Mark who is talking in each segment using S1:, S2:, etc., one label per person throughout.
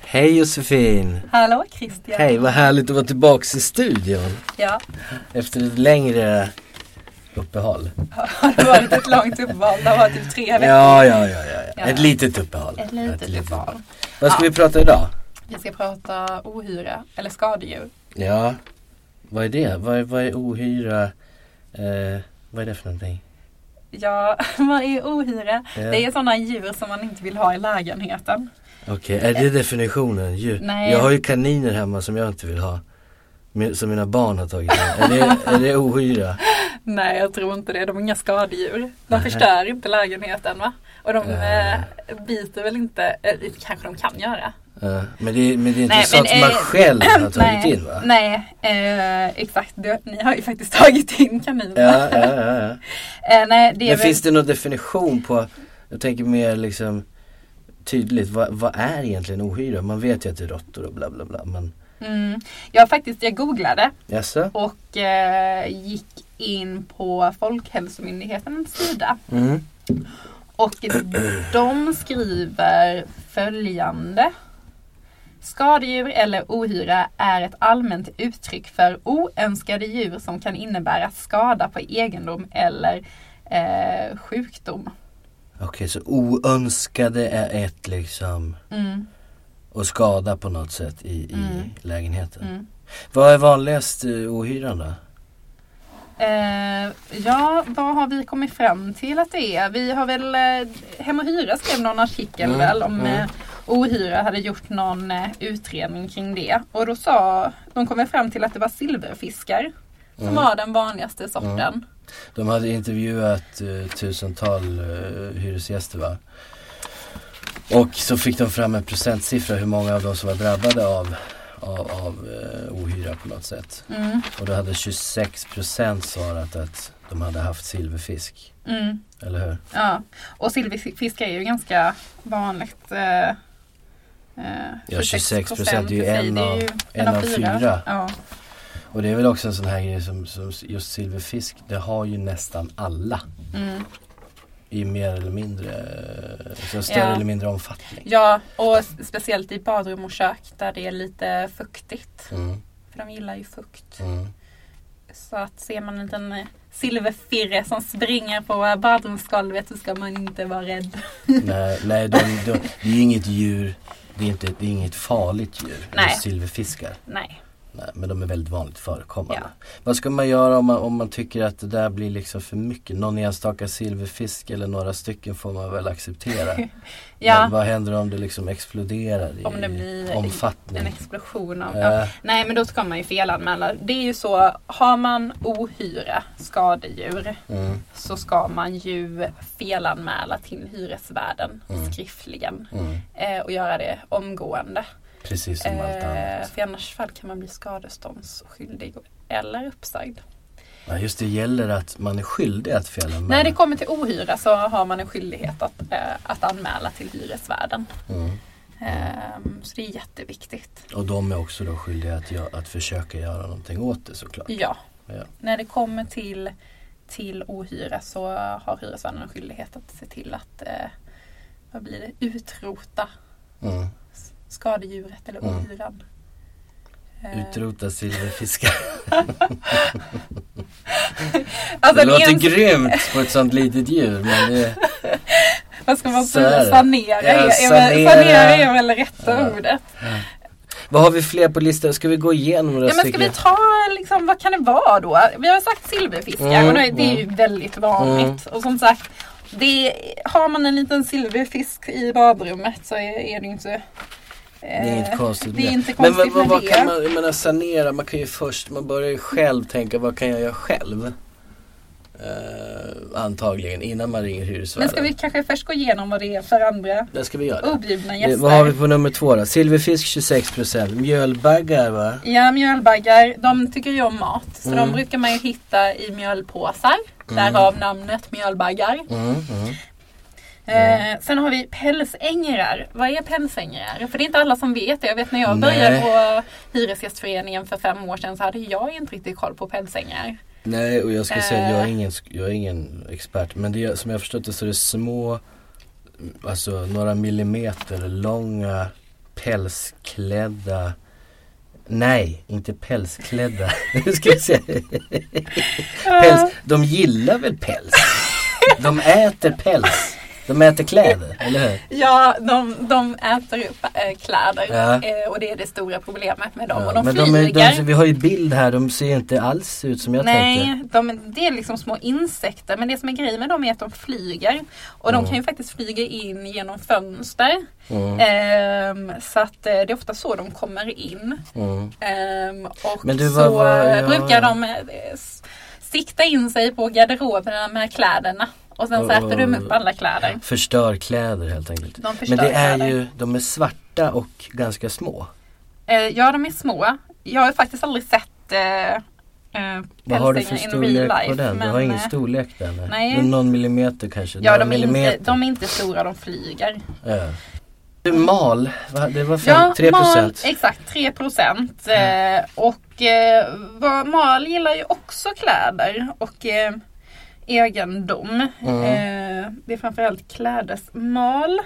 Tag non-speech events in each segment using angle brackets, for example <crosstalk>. S1: Hej Josefin!
S2: Hallå Christian!
S1: Hej, vad härligt att vara tillbaks i studion
S2: Ja,
S1: efter ett längre uppehåll.
S2: har det varit ett långt uppehåll? Det har varit typ tre veckor.
S1: Ja, ja, ja, ja. ja.
S2: Ja.
S1: Ett litet uppehåll.
S2: Ett litet uppehåll.
S1: Vad ska
S2: Ja.
S1: vi prata idag?
S2: Vi ska prata ohyra, eller skadedjur.
S1: Ja, vad är det? Vad är, vad är ohyra? Eh, vad är det för någonting?
S2: Ja, <laughs> vad är ohyra?
S1: Ja.
S2: Det är sådana djur som man inte vill ha i lägenheten.
S1: Okej, är det definitionen? Djur?
S2: Eh. Nej.
S1: Jag har ju kaniner hemma som jag inte vill ha. Min- Som mina barn har tagit med. Är det, är det ohyra?
S2: Nej, jag tror inte det. De är inga skadedjur. De
S1: Nej.
S2: förstör inte lägenheten va? Och de
S1: Ja.
S2: eh, biter väl inte, eller kanske de kan göra.
S1: Ja, Eh, men, det, men det är inte
S2: Nej,
S1: sånt
S2: men,
S1: man
S2: eh,
S1: själv
S2: <clears throat>
S1: har tagit
S2: nej,
S1: in va?
S2: Nej, eh, exakt. Du, ni har ju faktiskt <laughs> tagit in kaniner.
S1: Ja, ja, ja, ja.
S2: Eh, nej, det är
S1: Men
S2: väl...
S1: finns det någon definition på, jag tänker mer liksom tydligt, vad, vad är egentligen ohyra? Man vet ju att det är råttor och bla bla bla men
S2: Mm, jag faktiskt, jag googlade
S1: jaså?
S2: och eh, gick in på Folkhälsomyndighetens sida.
S1: Mm.
S2: Och de skriver följande. Skadedjur eller ohyra är ett allmänt uttryck för oönskade djur som kan innebära skada på egendom eller eh, sjukdom.
S1: Okej så oönskade är ett liksom
S2: Mm,
S1: och skada på något sätt i,
S2: Mm.
S1: i lägenheten.
S2: mm.
S1: Vad är vanligast eh, ohyran då?
S2: Eh, ja, vad har vi kommit fram till att det är? Vi har väl, eh, Hem och Hyra skrev någon artikel
S1: Mm,
S2: väl om
S1: mm.
S2: eh, Ohyra hade gjort någon eh, utredning kring det. Och då sa, de kom väl fram till att det var silverfiskar som
S1: Mm.
S2: var den vanligaste sorten.
S1: De hade intervjuat eh, tusental eh, hyresgäster va? Och så fick de fram en procentsiffra hur många av dem som var drabbade av, av, av eh, ohyra på något sätt.
S2: Mm,
S1: Och då hade 26% svarat att de hade haft silverfisk.
S2: mm,
S1: Eller hur?
S2: ja. Och silverfiskar är ju ganska vanligt. Eh, eh,
S1: Ja, 26% är ju
S2: i sig.
S1: en
S2: Det är
S1: av-
S2: ju
S1: en av fyra.
S2: Ja.
S1: Och det är väl också en sån här grej som, som just silverfisk, det har ju nästan alla.
S2: Mm.
S1: I mer eller mindre, eh, så större
S2: Ja.
S1: eller mindre omfattning.
S2: ja, och s- speciellt i badrum och kök där det är lite fuktigt.
S1: Mm,
S2: För de gillar ju fukt.
S1: mm.
S2: Så att ser man en liten eh, silverfirre som springer på badrumsgolvet så ska man inte vara rädd.
S1: <laughs> nej, nej de, de, det är ju inget djur, det är, inte, det är inget farligt djur.
S2: Nej.
S1: just Silverfiskar.
S2: Nej.
S1: Nej, men de är väldigt vanligt förekommande.
S2: Ja.
S1: Vad ska man göra om man, om man tycker att det där blir liksom för mycket? Någon enstaka silverfisk eller några stycken får man väl acceptera. Men
S2: Ja,
S1: vad händer om det liksom exploderar i
S2: Om det blir
S1: omfattning?
S2: en explosion av... Ja.
S1: Eh,
S2: Nej men då ska man ju felanmäla. Det är ju så, har man ohyra, skadedjur,
S1: mm,
S2: så ska man ju felanmäla till hyresvärden
S1: Mm.
S2: skriftligen.
S1: mm,
S2: Eh, och göra det omgående.
S1: precis som allt
S2: Eh,
S1: annat.
S2: för i annars fall kan man bli skadeståndsskyldig eller uppsagd.
S1: Ja, just det gäller att man är skyldig att felanmäla.
S2: När det kommer till ohyra så har man en skyldighet att, eh, att anmäla till hyresvärden.
S1: mm.
S2: Ehm, så det är jätteviktigt.
S1: Och de är också då skyldiga att, gö- att försöka göra någonting åt det såklart.
S2: Ja,
S1: Ja.
S2: när det kommer till, till ohyra så har hyresvärden en skyldighet att se till att eh, vad blir det? utrota
S1: Mm.
S2: s- skadedjuret eller
S1: Mm.
S2: ohyran. Eh,
S1: Utrota
S2: <laughs>
S1: silverfiskar.
S2: alltså,
S1: det låter
S2: ens-
S1: grymt på ett sånt litet djur men eh, det,
S2: Vad ska man
S1: Så är
S2: säga?
S1: det.
S2: Sanera,
S1: Ja,
S2: är, är,
S1: sanera.
S2: sanera. sanera är väl rätta
S1: Ja.
S2: ordet.
S1: Vad har vi fler på listan? Ska vi gå igenom några
S2: Ja, men ska vi ta liksom, vad kan det vara då? Vi har sagt silverfiskar
S1: Mm,
S2: och det, det är ju väldigt vanligt. Och som sagt, det, har man en liten silverfisk i badrummet så är, är det ju inte... eh,
S1: Det är inget konstigt
S2: det är
S1: med
S2: inte
S1: Men
S2: konstigt
S1: vad,
S2: med
S1: vad
S2: det.
S1: kan man, jag menar sanera, man kan ju först, man börjar ju själv tänka vad kan jag göra själv? Eh, antagligen innan man ringer hyresvärden.
S2: Men ska vi kanske först gå igenom vad det är för andra
S1: Det ska vi göra.
S2: objudna
S1: Eh,
S2: gäster?
S1: vad har vi på nummer två då? Silverfisk 26%, mjölbaggar va?
S2: Ja, mjölbaggar, de tycker ju om mat. Så
S1: Mm.
S2: de brukar man ju hitta i mjölpåsar. Därav namnet mjölbaggar.
S1: Mm, mm.
S2: Eh, sen har vi pälsängrar. Vad är pälsängrar? För det är inte alla som vet det. Jag vet när jag
S1: Nej.
S2: började på Hyresgästföreningen för fem år sedan så hade jag inte riktigt koll på pälsängrar.
S1: Nej och jag ska säga att jag är
S2: Eh.
S1: ingen, sk- jag är ingen expert men det, är- som jag har förstått det så är det små, alltså några millimeter långa pälsklädda Nej, inte pälsklädda. <laughs> Nu ska vi se.
S2: Eh,
S1: Päls. De gillar väl päls? De äter päls. De äter kläder, eller hur?
S2: Ja, de, de äter upp eh, kläder
S1: Ja.
S2: eh, och det är det stora problemet med dem.
S1: Ja,
S2: och de
S1: men
S2: flyger.
S1: de är, de, vi har ju bild här, de ser inte alls ut som jag tänkte.
S2: Nej, de, det är liksom små insekter. Men det som är grejen med dem är att de flyger. Och de
S1: Mm.
S2: kan ju faktiskt flyga in genom fönster.
S1: Mm,
S2: Ehm, så att eh, det är ofta så de kommer in.
S1: mm.
S2: Ehm, och
S1: Men du,
S2: så
S1: vad- vad-
S2: eh,
S1: ja,
S2: brukar
S1: ja.
S2: de eh, s- sikta in sig på garderoberna med kläderna. Och sen så
S1: Och-
S2: äter de
S1: och-
S2: upp alla kläder.
S1: Förstör kläder helt enkelt.
S2: De förstör
S1: Men det är
S2: kläder.
S1: ju, de är svarta och ganska små.
S2: Eh, ja, de är små. Jag har faktiskt aldrig sett eh, eh,
S1: Vad har du för
S2: pälsängar in real
S1: storlek
S2: life.
S1: på den? Du
S2: men,
S1: har ingen
S2: eh,
S1: storlek där? Nej.
S2: nej.
S1: Men Någon millimeter kanske?
S2: Ja,
S1: Några
S2: de är, inte,
S1: millimeter.
S2: de är inte stora, de flyger.
S1: Ja. Du, mal, va? det var fem,
S2: Ja,
S1: 3
S2: mal,
S1: procent. Mm.
S2: exakt 3 procent. Eh, och eh, vad- mal gillar ju också kläder och eh, egendom.
S1: Mm.
S2: Eh, det är framförallt klädesmal.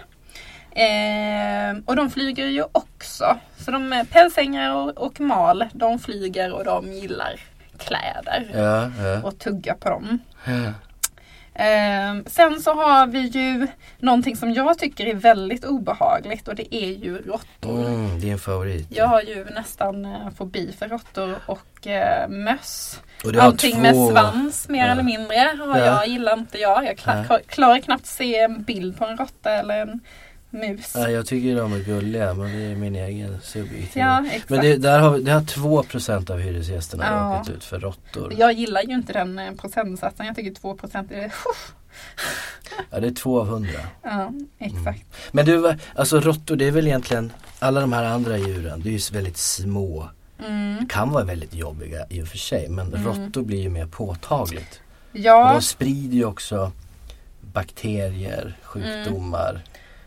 S2: Eh, och de flyger ju också. Så de eh, pälsängar och, och mal, de flyger och de gillar kläder.
S1: Ja, ja.
S2: Och tugga på dem.
S1: ja.
S2: Ehm, sen så har vi ju någonting som jag tycker är väldigt obehagligt och det är ju råttor.
S1: Mm, din favorit.
S2: Jag har ju nästan eh, fobi för råttor och eh, möss.
S1: Och du har
S2: Allting med
S1: två-
S2: svans mer
S1: Ja.
S2: eller mindre har
S1: Ja.
S2: jag, gillar inte jag. Jag kla-
S1: Nej.
S2: klarar knappt se en bild på en råtta eller en mus.
S1: Ja, jag tycker de är gulliga men det är min egen subjektiva.
S2: Ja, exakt.
S1: Mm. men det, där har, vi- det har 2 procent av hyresgästerna
S2: Ja.
S1: råkat ut för råttor.
S2: Jag gillar ju inte den eh, procentsatsen. Jag tycker 2% är...
S1: Ja, det är två av hundra. Mm.
S2: Ja, exakt.
S1: Men du, va- alltså råttor det är väl egentligen alla de här andra djuren, det är ju väldigt små.
S2: Mm.
S1: Kan vara väldigt jobbiga i och för sig men
S2: Mm.
S1: råttor blir ju mer påtagligt. Och
S2: Ja,
S1: de sprider ju också bakterier, sjukdomar.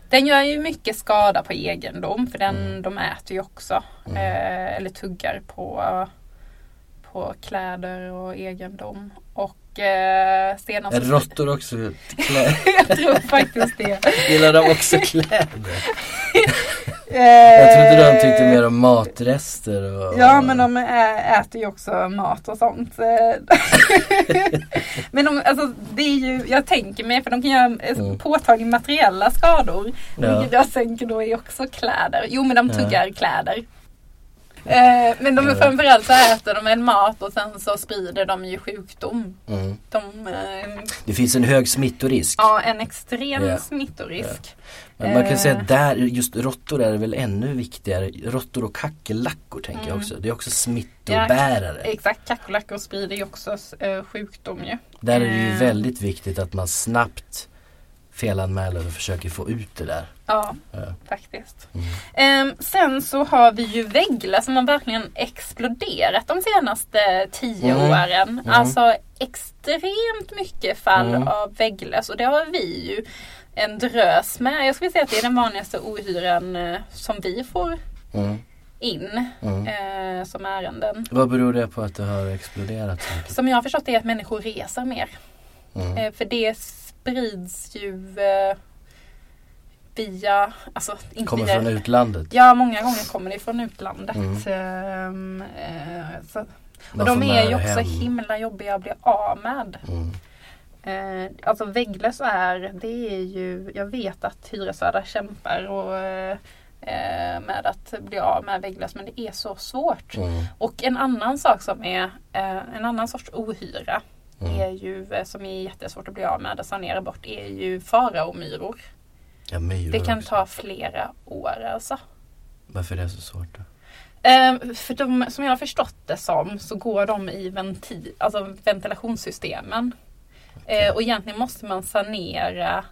S2: den gör ju mycket skada på egendom för den,
S1: Mm.
S2: de äter ju också.
S1: Mm.
S2: Eh, eller tuggar på, på kläder och egendom. Och eh, senast...
S1: Är råttor också kläder?
S2: <laughs> jag tror faktiskt det.
S1: <laughs> Gillar de också kläder?
S2: Eh,
S1: <laughs> Jag trodde de tyckte mer om matrester och...
S2: Ja men de ä- äter ju också mat och sånt. Eh, <laughs> men de, alltså, det är ju, jag tänker mig, för de kan göra eh,
S1: Mm.
S2: påtagliga materiella skador.
S1: Ja.
S2: Vilket jag tänker då är också kläder. Jo men de
S1: Ja.
S2: tuggar kläder. Eh, men de är
S1: Ja.
S2: framförallt så äter de en mat och sen så sprider de ju sjukdom.
S1: Mm.
S2: De, eh,
S1: Det finns en hög smittorisk.
S2: ja en extrem
S1: Ja.
S2: smittorisk.
S1: Men man
S2: Eh.
S1: kan säga att där, just råttor är väl ännu viktigare. Råttor och kackerlackor tänker jag
S2: Mm.
S1: också. Det är också smittobärare.
S2: Exakt, kackerlackor sprider ju också eh, sjukdom ju.
S1: Där är det ju
S2: Eh.
S1: väldigt viktigt att man snabbt felanmäler och försöker få ut det där.
S2: Ja,
S1: Ja.
S2: faktiskt.
S1: Mm.
S2: Ehm, sen så har vi ju Vegla som har verkligen exploderat de senaste tio
S1: Mm.
S2: åren.
S1: Mm.
S2: Alltså extremt mycket fall
S1: Mm.
S2: av vägglöss och det har vi ju en drös med. Jag skulle säga att det är den vanligaste ohyran eh, som vi får
S1: Mm.
S2: in
S1: Mm.
S2: eh, som ärenden.
S1: Vad beror det på att det har exploderat så mycket?
S2: Som jag har förstått det är att människor reser mer.
S1: Mm.
S2: Eh, för det sprids ju eh, via, alltså inte
S1: Kommer
S2: via
S1: från utlandet.
S2: Ja, många gånger kommer det från utlandet.
S1: Mm.
S2: Ehm, eh, så, och
S1: Man
S2: de
S1: får
S2: är
S1: med
S2: ju
S1: det
S2: också
S1: hem.
S2: himla jobbiga att bli av med.
S1: Mm.
S2: Eh, alltså vägglöss är, det är ju, jag vet att hyresvärdar kämpar och, eh, eh, med att bli av med vägglöss men det är så svårt.
S1: Mm.
S2: Och en annan sak som är, eh, en annan sorts ohyra
S1: Mm.
S2: är ju, eh, som är jättesvårt att bli av med och sanera bort är ju faraomyror.
S1: Ja, myror
S2: Det kan
S1: också.
S2: ta flera år alltså.
S1: Varför är det så svårt då?
S2: Ehm, För de, som jag har förstått det som så går de i venti, alltså ventilationssystemen. Eh, Och egentligen måste man sanera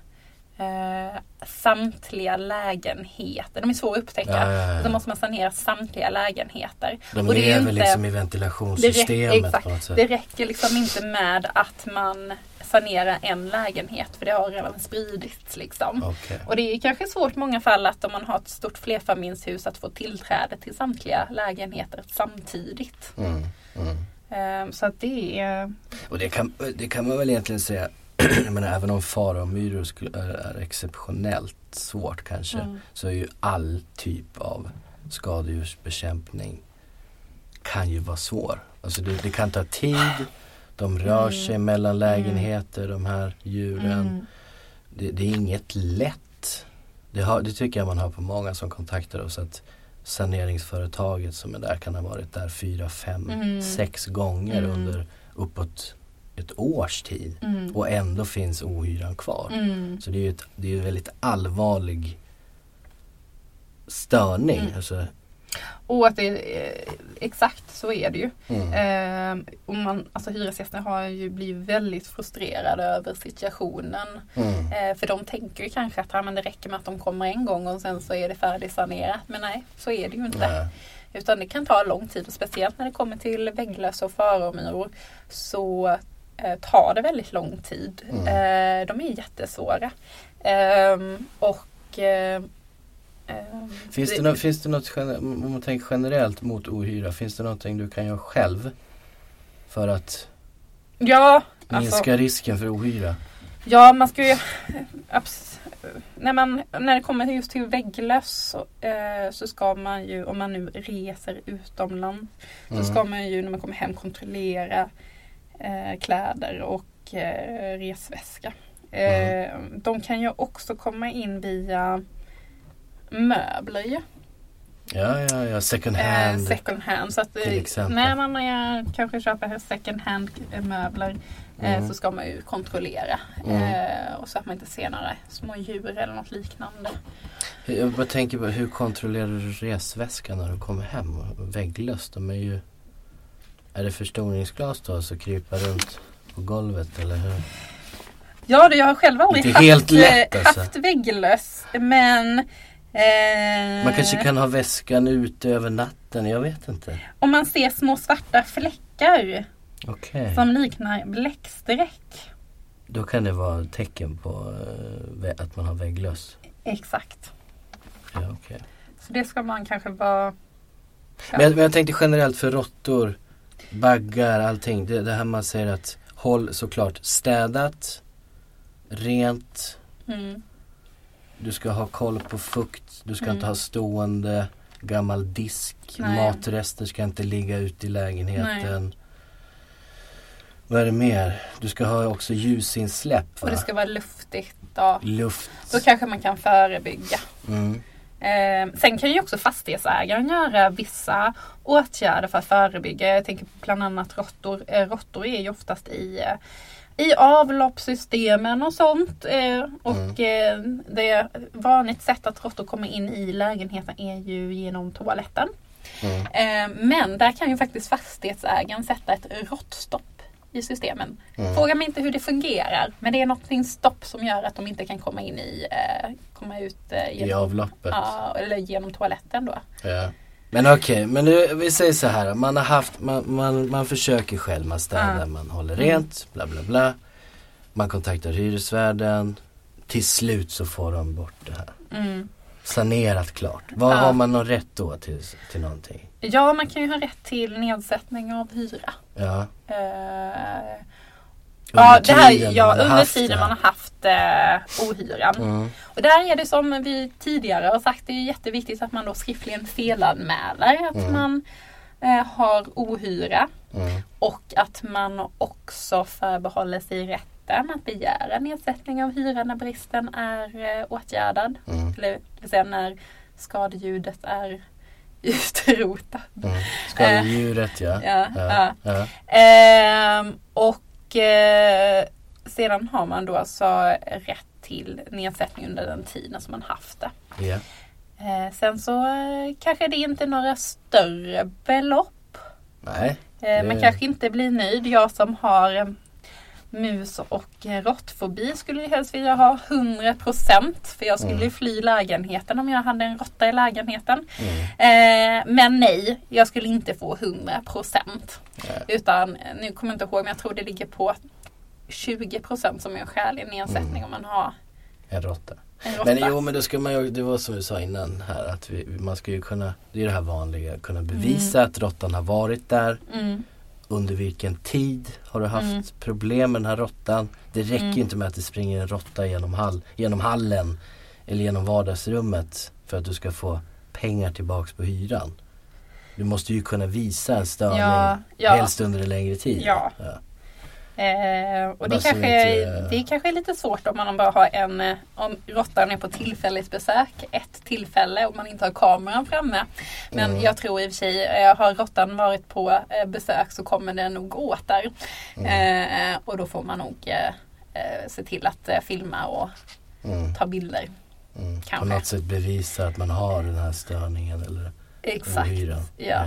S2: eh, samtliga lägenheter. De är svåra att upptäcka.
S1: Ja, ja, ja.
S2: Så Då måste man sanera samtliga lägenheter.
S1: De
S2: Och det är ju
S1: lever
S2: inte-
S1: liksom i
S2: Det, räck-
S1: ventilationssystemet på något
S2: exakt,
S1: sätt.
S2: det räcker liksom inte med att man sanerar en lägenhet för det har redan spridits liksom.
S1: Okej.
S2: Och det är kanske svårt i många fall att om man har ett stort flerfamiljshus att få tillträde till samtliga lägenheter samtidigt.
S1: Mm. Mm.
S2: Ehm, Så att det är...
S1: Och det kan, det kan man väl egentligen säga <clears throat> jag menar, även om faramyror sku- är, är exceptionellt svårt kanske
S2: Mm.
S1: så är ju all typ av skadedjursbekämpning kan ju vara svår. Alltså det, det kan ta tid, de rör
S2: Mm.
S1: sig mellan lägenheter de här djuren.
S2: Mm.
S1: Det, det är inget lätt. Det, har, det tycker jag man hör på många som kontaktar oss att saneringsföretaget som är där kan ha varit där fyra, fem,
S2: Mm.
S1: sex gånger
S2: Mm.
S1: under uppåt ett års tid
S2: Mm.
S1: och ändå finns ohyran kvar.
S2: Mm.
S1: Så det är ju ett, det är ju en väldigt allvarlig störning.
S2: Mm.
S1: Alltså,
S2: Och att det, eh, exakt så är det ju.
S1: mm.
S2: Ehm, och man, alltså hyresgästerna har ju blivit väldigt frustrerade över situationen.
S1: Mm.
S2: Eh, för de tänker ju kanske att "Ah, men det räcker med att de kommer en gång och sen så är det färdigsanerat. Men nej, så är det ju inte.
S1: Nej.
S2: Utan det kan ta lång tid och speciellt när det kommer till vägglöss och faromyror så eh, tar det väldigt lång tid.
S1: Mm.
S2: Eh, de är jättesvåra. Ehm, och eh, ehm,
S1: Finns, det,
S2: det-
S1: nå- finns det något, gene- om man tänker generellt mot ohyra, finns det någonting du kan göra själv för att
S2: Ja,
S1: minska
S2: alltså,
S1: risken för ohyra?
S2: ja man ska ju... abs- När, man, när det kommer just till vägglöss så, eh, så ska man ju, om man nu reser utomlands
S1: Mm.
S2: Så ska man ju när man kommer hem kontrollera eh, kläder och eh, resväska. Eh,
S1: Mm.
S2: De kan ju också komma in via möbler ju.
S1: Ja, ja, ja, second
S2: Eh,
S1: hand.
S2: second hand. Så att, eh,
S1: till exempel.
S2: när man eh, kanske köper second hand eh, möbler eh,
S1: Mm.
S2: så ska man ju kontrollera.
S1: Mm.
S2: Eh, och så att man inte ser några små djur eller något liknande. eh.
S1: Jag bara tänker på hur kontrollerar du resväskan när du kommer hem? Vägglöss, de är ju... Är det förstoringsglas då så krypa runt på golvet eller hur?
S2: Ja, det jag har själv aldrig
S1: Inte helt
S2: haft, eh,
S1: lätt, alltså.
S2: haft vägglöss. Men eh,
S1: Man kanske kan ha väskan ute över natten, jag vet inte.
S2: Om man ser små svarta fläckar
S1: Okej.
S2: som liknar bläckstreck.
S1: Då kan det vara ett tecken på eh, vä- att man har vägglöss.
S2: Exakt.
S1: Ja, okej.
S2: Så det ska man kanske vara... Ja.
S1: men, jag, men jag tänkte generellt för råttor, baggar, allting. Det, det här man säger att håll såklart städat, rent,
S2: Mm,
S1: Du ska ha koll på fukt, du ska
S2: Mm.
S1: inte ha stående gammal disk,
S2: Nej.
S1: matrester ska inte ligga ute i lägenheten. Vad är det mer? Du ska ha också ljusinsläpp
S2: och
S1: va?
S2: det ska vara luftigt. Då,
S1: Luft.
S2: då kanske man kan förebygga.
S1: Mm.
S2: Eh, sen kan ju också fastighetsägaren göra vissa åtgärder för att förebygga. Jag tänker på bland annat råttor. Eh, råttor är ju oftast i, eh, i avloppssystemen och sånt. Eh, och eh, det vanligt sätt att råttor kommer in i lägenheten är ju genom toaletten.
S1: Mm.
S2: Eh, men där kan ju faktiskt fastighetsägaren sätta ett råttstopp i systemen.
S1: Mm.
S2: Fråga mig inte hur det fungerar men det är någonting stopp som gör att de inte kan komma in i, eh, komma ut eh,
S1: I
S2: genom,
S1: avloppet.
S2: ja, eller genom toaletten då.
S1: Ja. Men okej, men nu, vi säger så här. Man har haft, man, man, man försöker själv, man städar,
S2: Ja. Mm.
S1: man håller rent, bla bla bla. Man kontaktar hyresvärden. Till slut så får de bort det här.
S2: Mm.
S1: Sanerat klart. Vad
S2: Ja.
S1: har man någon rätt då till, till någonting?
S2: Ja, man kan ju ha rätt till nedsättning av hyra.
S1: Ja.
S2: Eh, ja,
S1: Under
S2: det här,
S1: tiden
S2: ja,
S1: man har
S2: under
S1: haft
S2: tiden
S1: det här.
S2: man har haft eh, ohyran.
S1: Mm.
S2: Och där är det som vi tidigare har sagt, det är jätteviktigt att man då skriftligen felanmäler att
S1: Mm.
S2: man eh, har ohyra
S1: Mm.
S2: och att man också förbehåller sig rätten att begära nedsättning av hyra när bristen är eh, åtgärdad.
S1: Mm.
S2: Eller det vill säga när skadeljudet är <laughs> utrotat.
S1: Mm. Skadedjuret ja.
S2: Eh. Ja, ja.
S1: ja.
S2: Ehm, och eh, sedan har man då alltså rätt till nedsättning under den tiden som man haft det.
S1: ja.
S2: Eh, sen så eh, kanske det inte är några större belopp.
S1: Nej.
S2: Eh, man
S1: Det-
S2: kanske inte blir nöjd. Jag som har eh, mus och eh, råttfobi skulle ju helst vilja ha 100% för jag skulle
S1: Mm.
S2: ju fly lägenheten om jag hade en råtta i lägenheten.
S1: Mm.
S2: Eh, men nej, jag skulle inte få 100%.
S1: Nej.
S2: Utan, eh, nu kommer jag inte ihåg, men jag tror det ligger på 20% som är en skälig nedsättning
S1: Mm.
S2: om man har
S1: En råtta.
S2: en råtta.
S1: Men jo men då ska man ju, det var som vi sa innan här att vi, man ska ju kunna, det är det här vanliga, kunna bevisa att råttan har varit där
S2: mm.
S1: under vilken tid har du haft
S2: Mm.
S1: problem med den här råttan. Det räcker
S2: Mm.
S1: ju inte med att det springer en råtta genom, hall, genom hallen eller genom vardagsrummet för att du ska få pengar tillbaks på hyran. Du måste ju kunna visa en störning
S2: Ja, ja.
S1: helst under en längre tid.
S2: Ja. Eh, och det
S1: Bara eh, så
S2: kanske,
S1: vi inte-
S2: det kanske är lite svårt om man bara har en, eh, om råttan är på tillfälligt besök, ett tillfälle och man inte har kameran framme. Men
S1: Mm.
S2: jag tror i och för sig, eh, har råttan varit på eh, besök så kommer den nog åt där.
S1: mm,
S2: Eh, och då får man nog eh, eh, se till att eh, filma och
S1: Mm,
S2: ta bilder.
S1: mm. På
S2: Kanske.
S1: något sätt bevisa att man har den här störningen eller
S2: Exakt.
S1: hyran.
S2: Ja.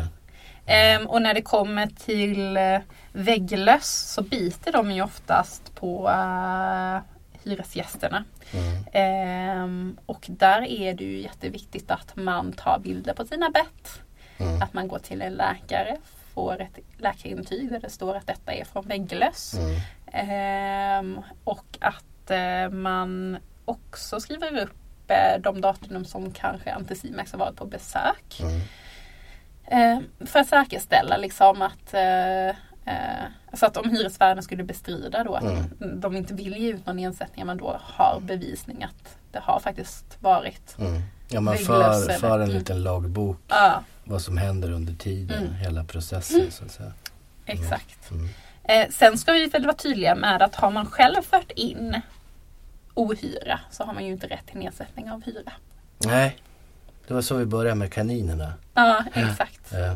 S2: Ehm, och när det kommer till eh, vägglöss så biter de ju oftast på eh, hyresgästerna.
S1: Mm.
S2: Ehm, och där är det ju jätteviktigt att man tar bilder på sina bett.
S1: Mm.
S2: Att man går till en läkare, får ett läkarintyg där det står att detta är från vägglöss.
S1: Mm.
S2: Ehm, och att eh, man också skriver upp eh, de datum som kanske Anticimex har varit på besök.
S1: Mm.
S2: Eh, för att säkerställa liksom att eh, eh, så att om hyresvärden skulle bestrida då att de inte vill ge ut någon ersättning, man då har bevisning att det har faktiskt varit.
S1: Mm. Ja, man
S2: Vägglöss
S1: för,
S2: eller-
S1: för en
S2: Mm.
S1: liten loggbok
S2: Ja,
S1: vad som händer under tiden,
S2: Mm.
S1: hela processen så att säga.
S2: exakt.
S1: Mm.
S2: Eh, sen ska vi väl vara tydliga med att har man själv fört in ohyra så har man ju inte rätt till nedsättning av hyra.
S1: Nej, det var så vi började med kaninerna.
S2: Ja, exakt.
S1: Eh,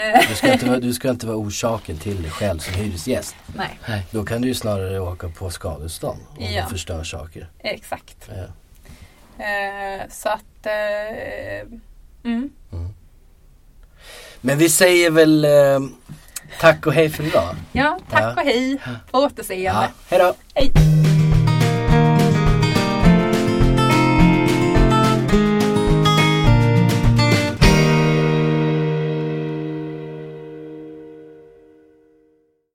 S2: Eh,
S1: Du ska inte vara, du ska inte vara orsaken till dig själv som hyresgäst.
S2: nej,
S1: Då kan du ju snarare åka på skadestånd om
S2: Ja.
S1: du förstör saker.
S2: exakt.
S1: Eh,
S2: Eh, så att... Eh, mm.
S1: Men vi säger väl eh, tack och hej för idag.
S2: Ja, tack
S1: Ja.
S2: och hej. På återseende.
S1: Ja, hej då!
S2: Hej!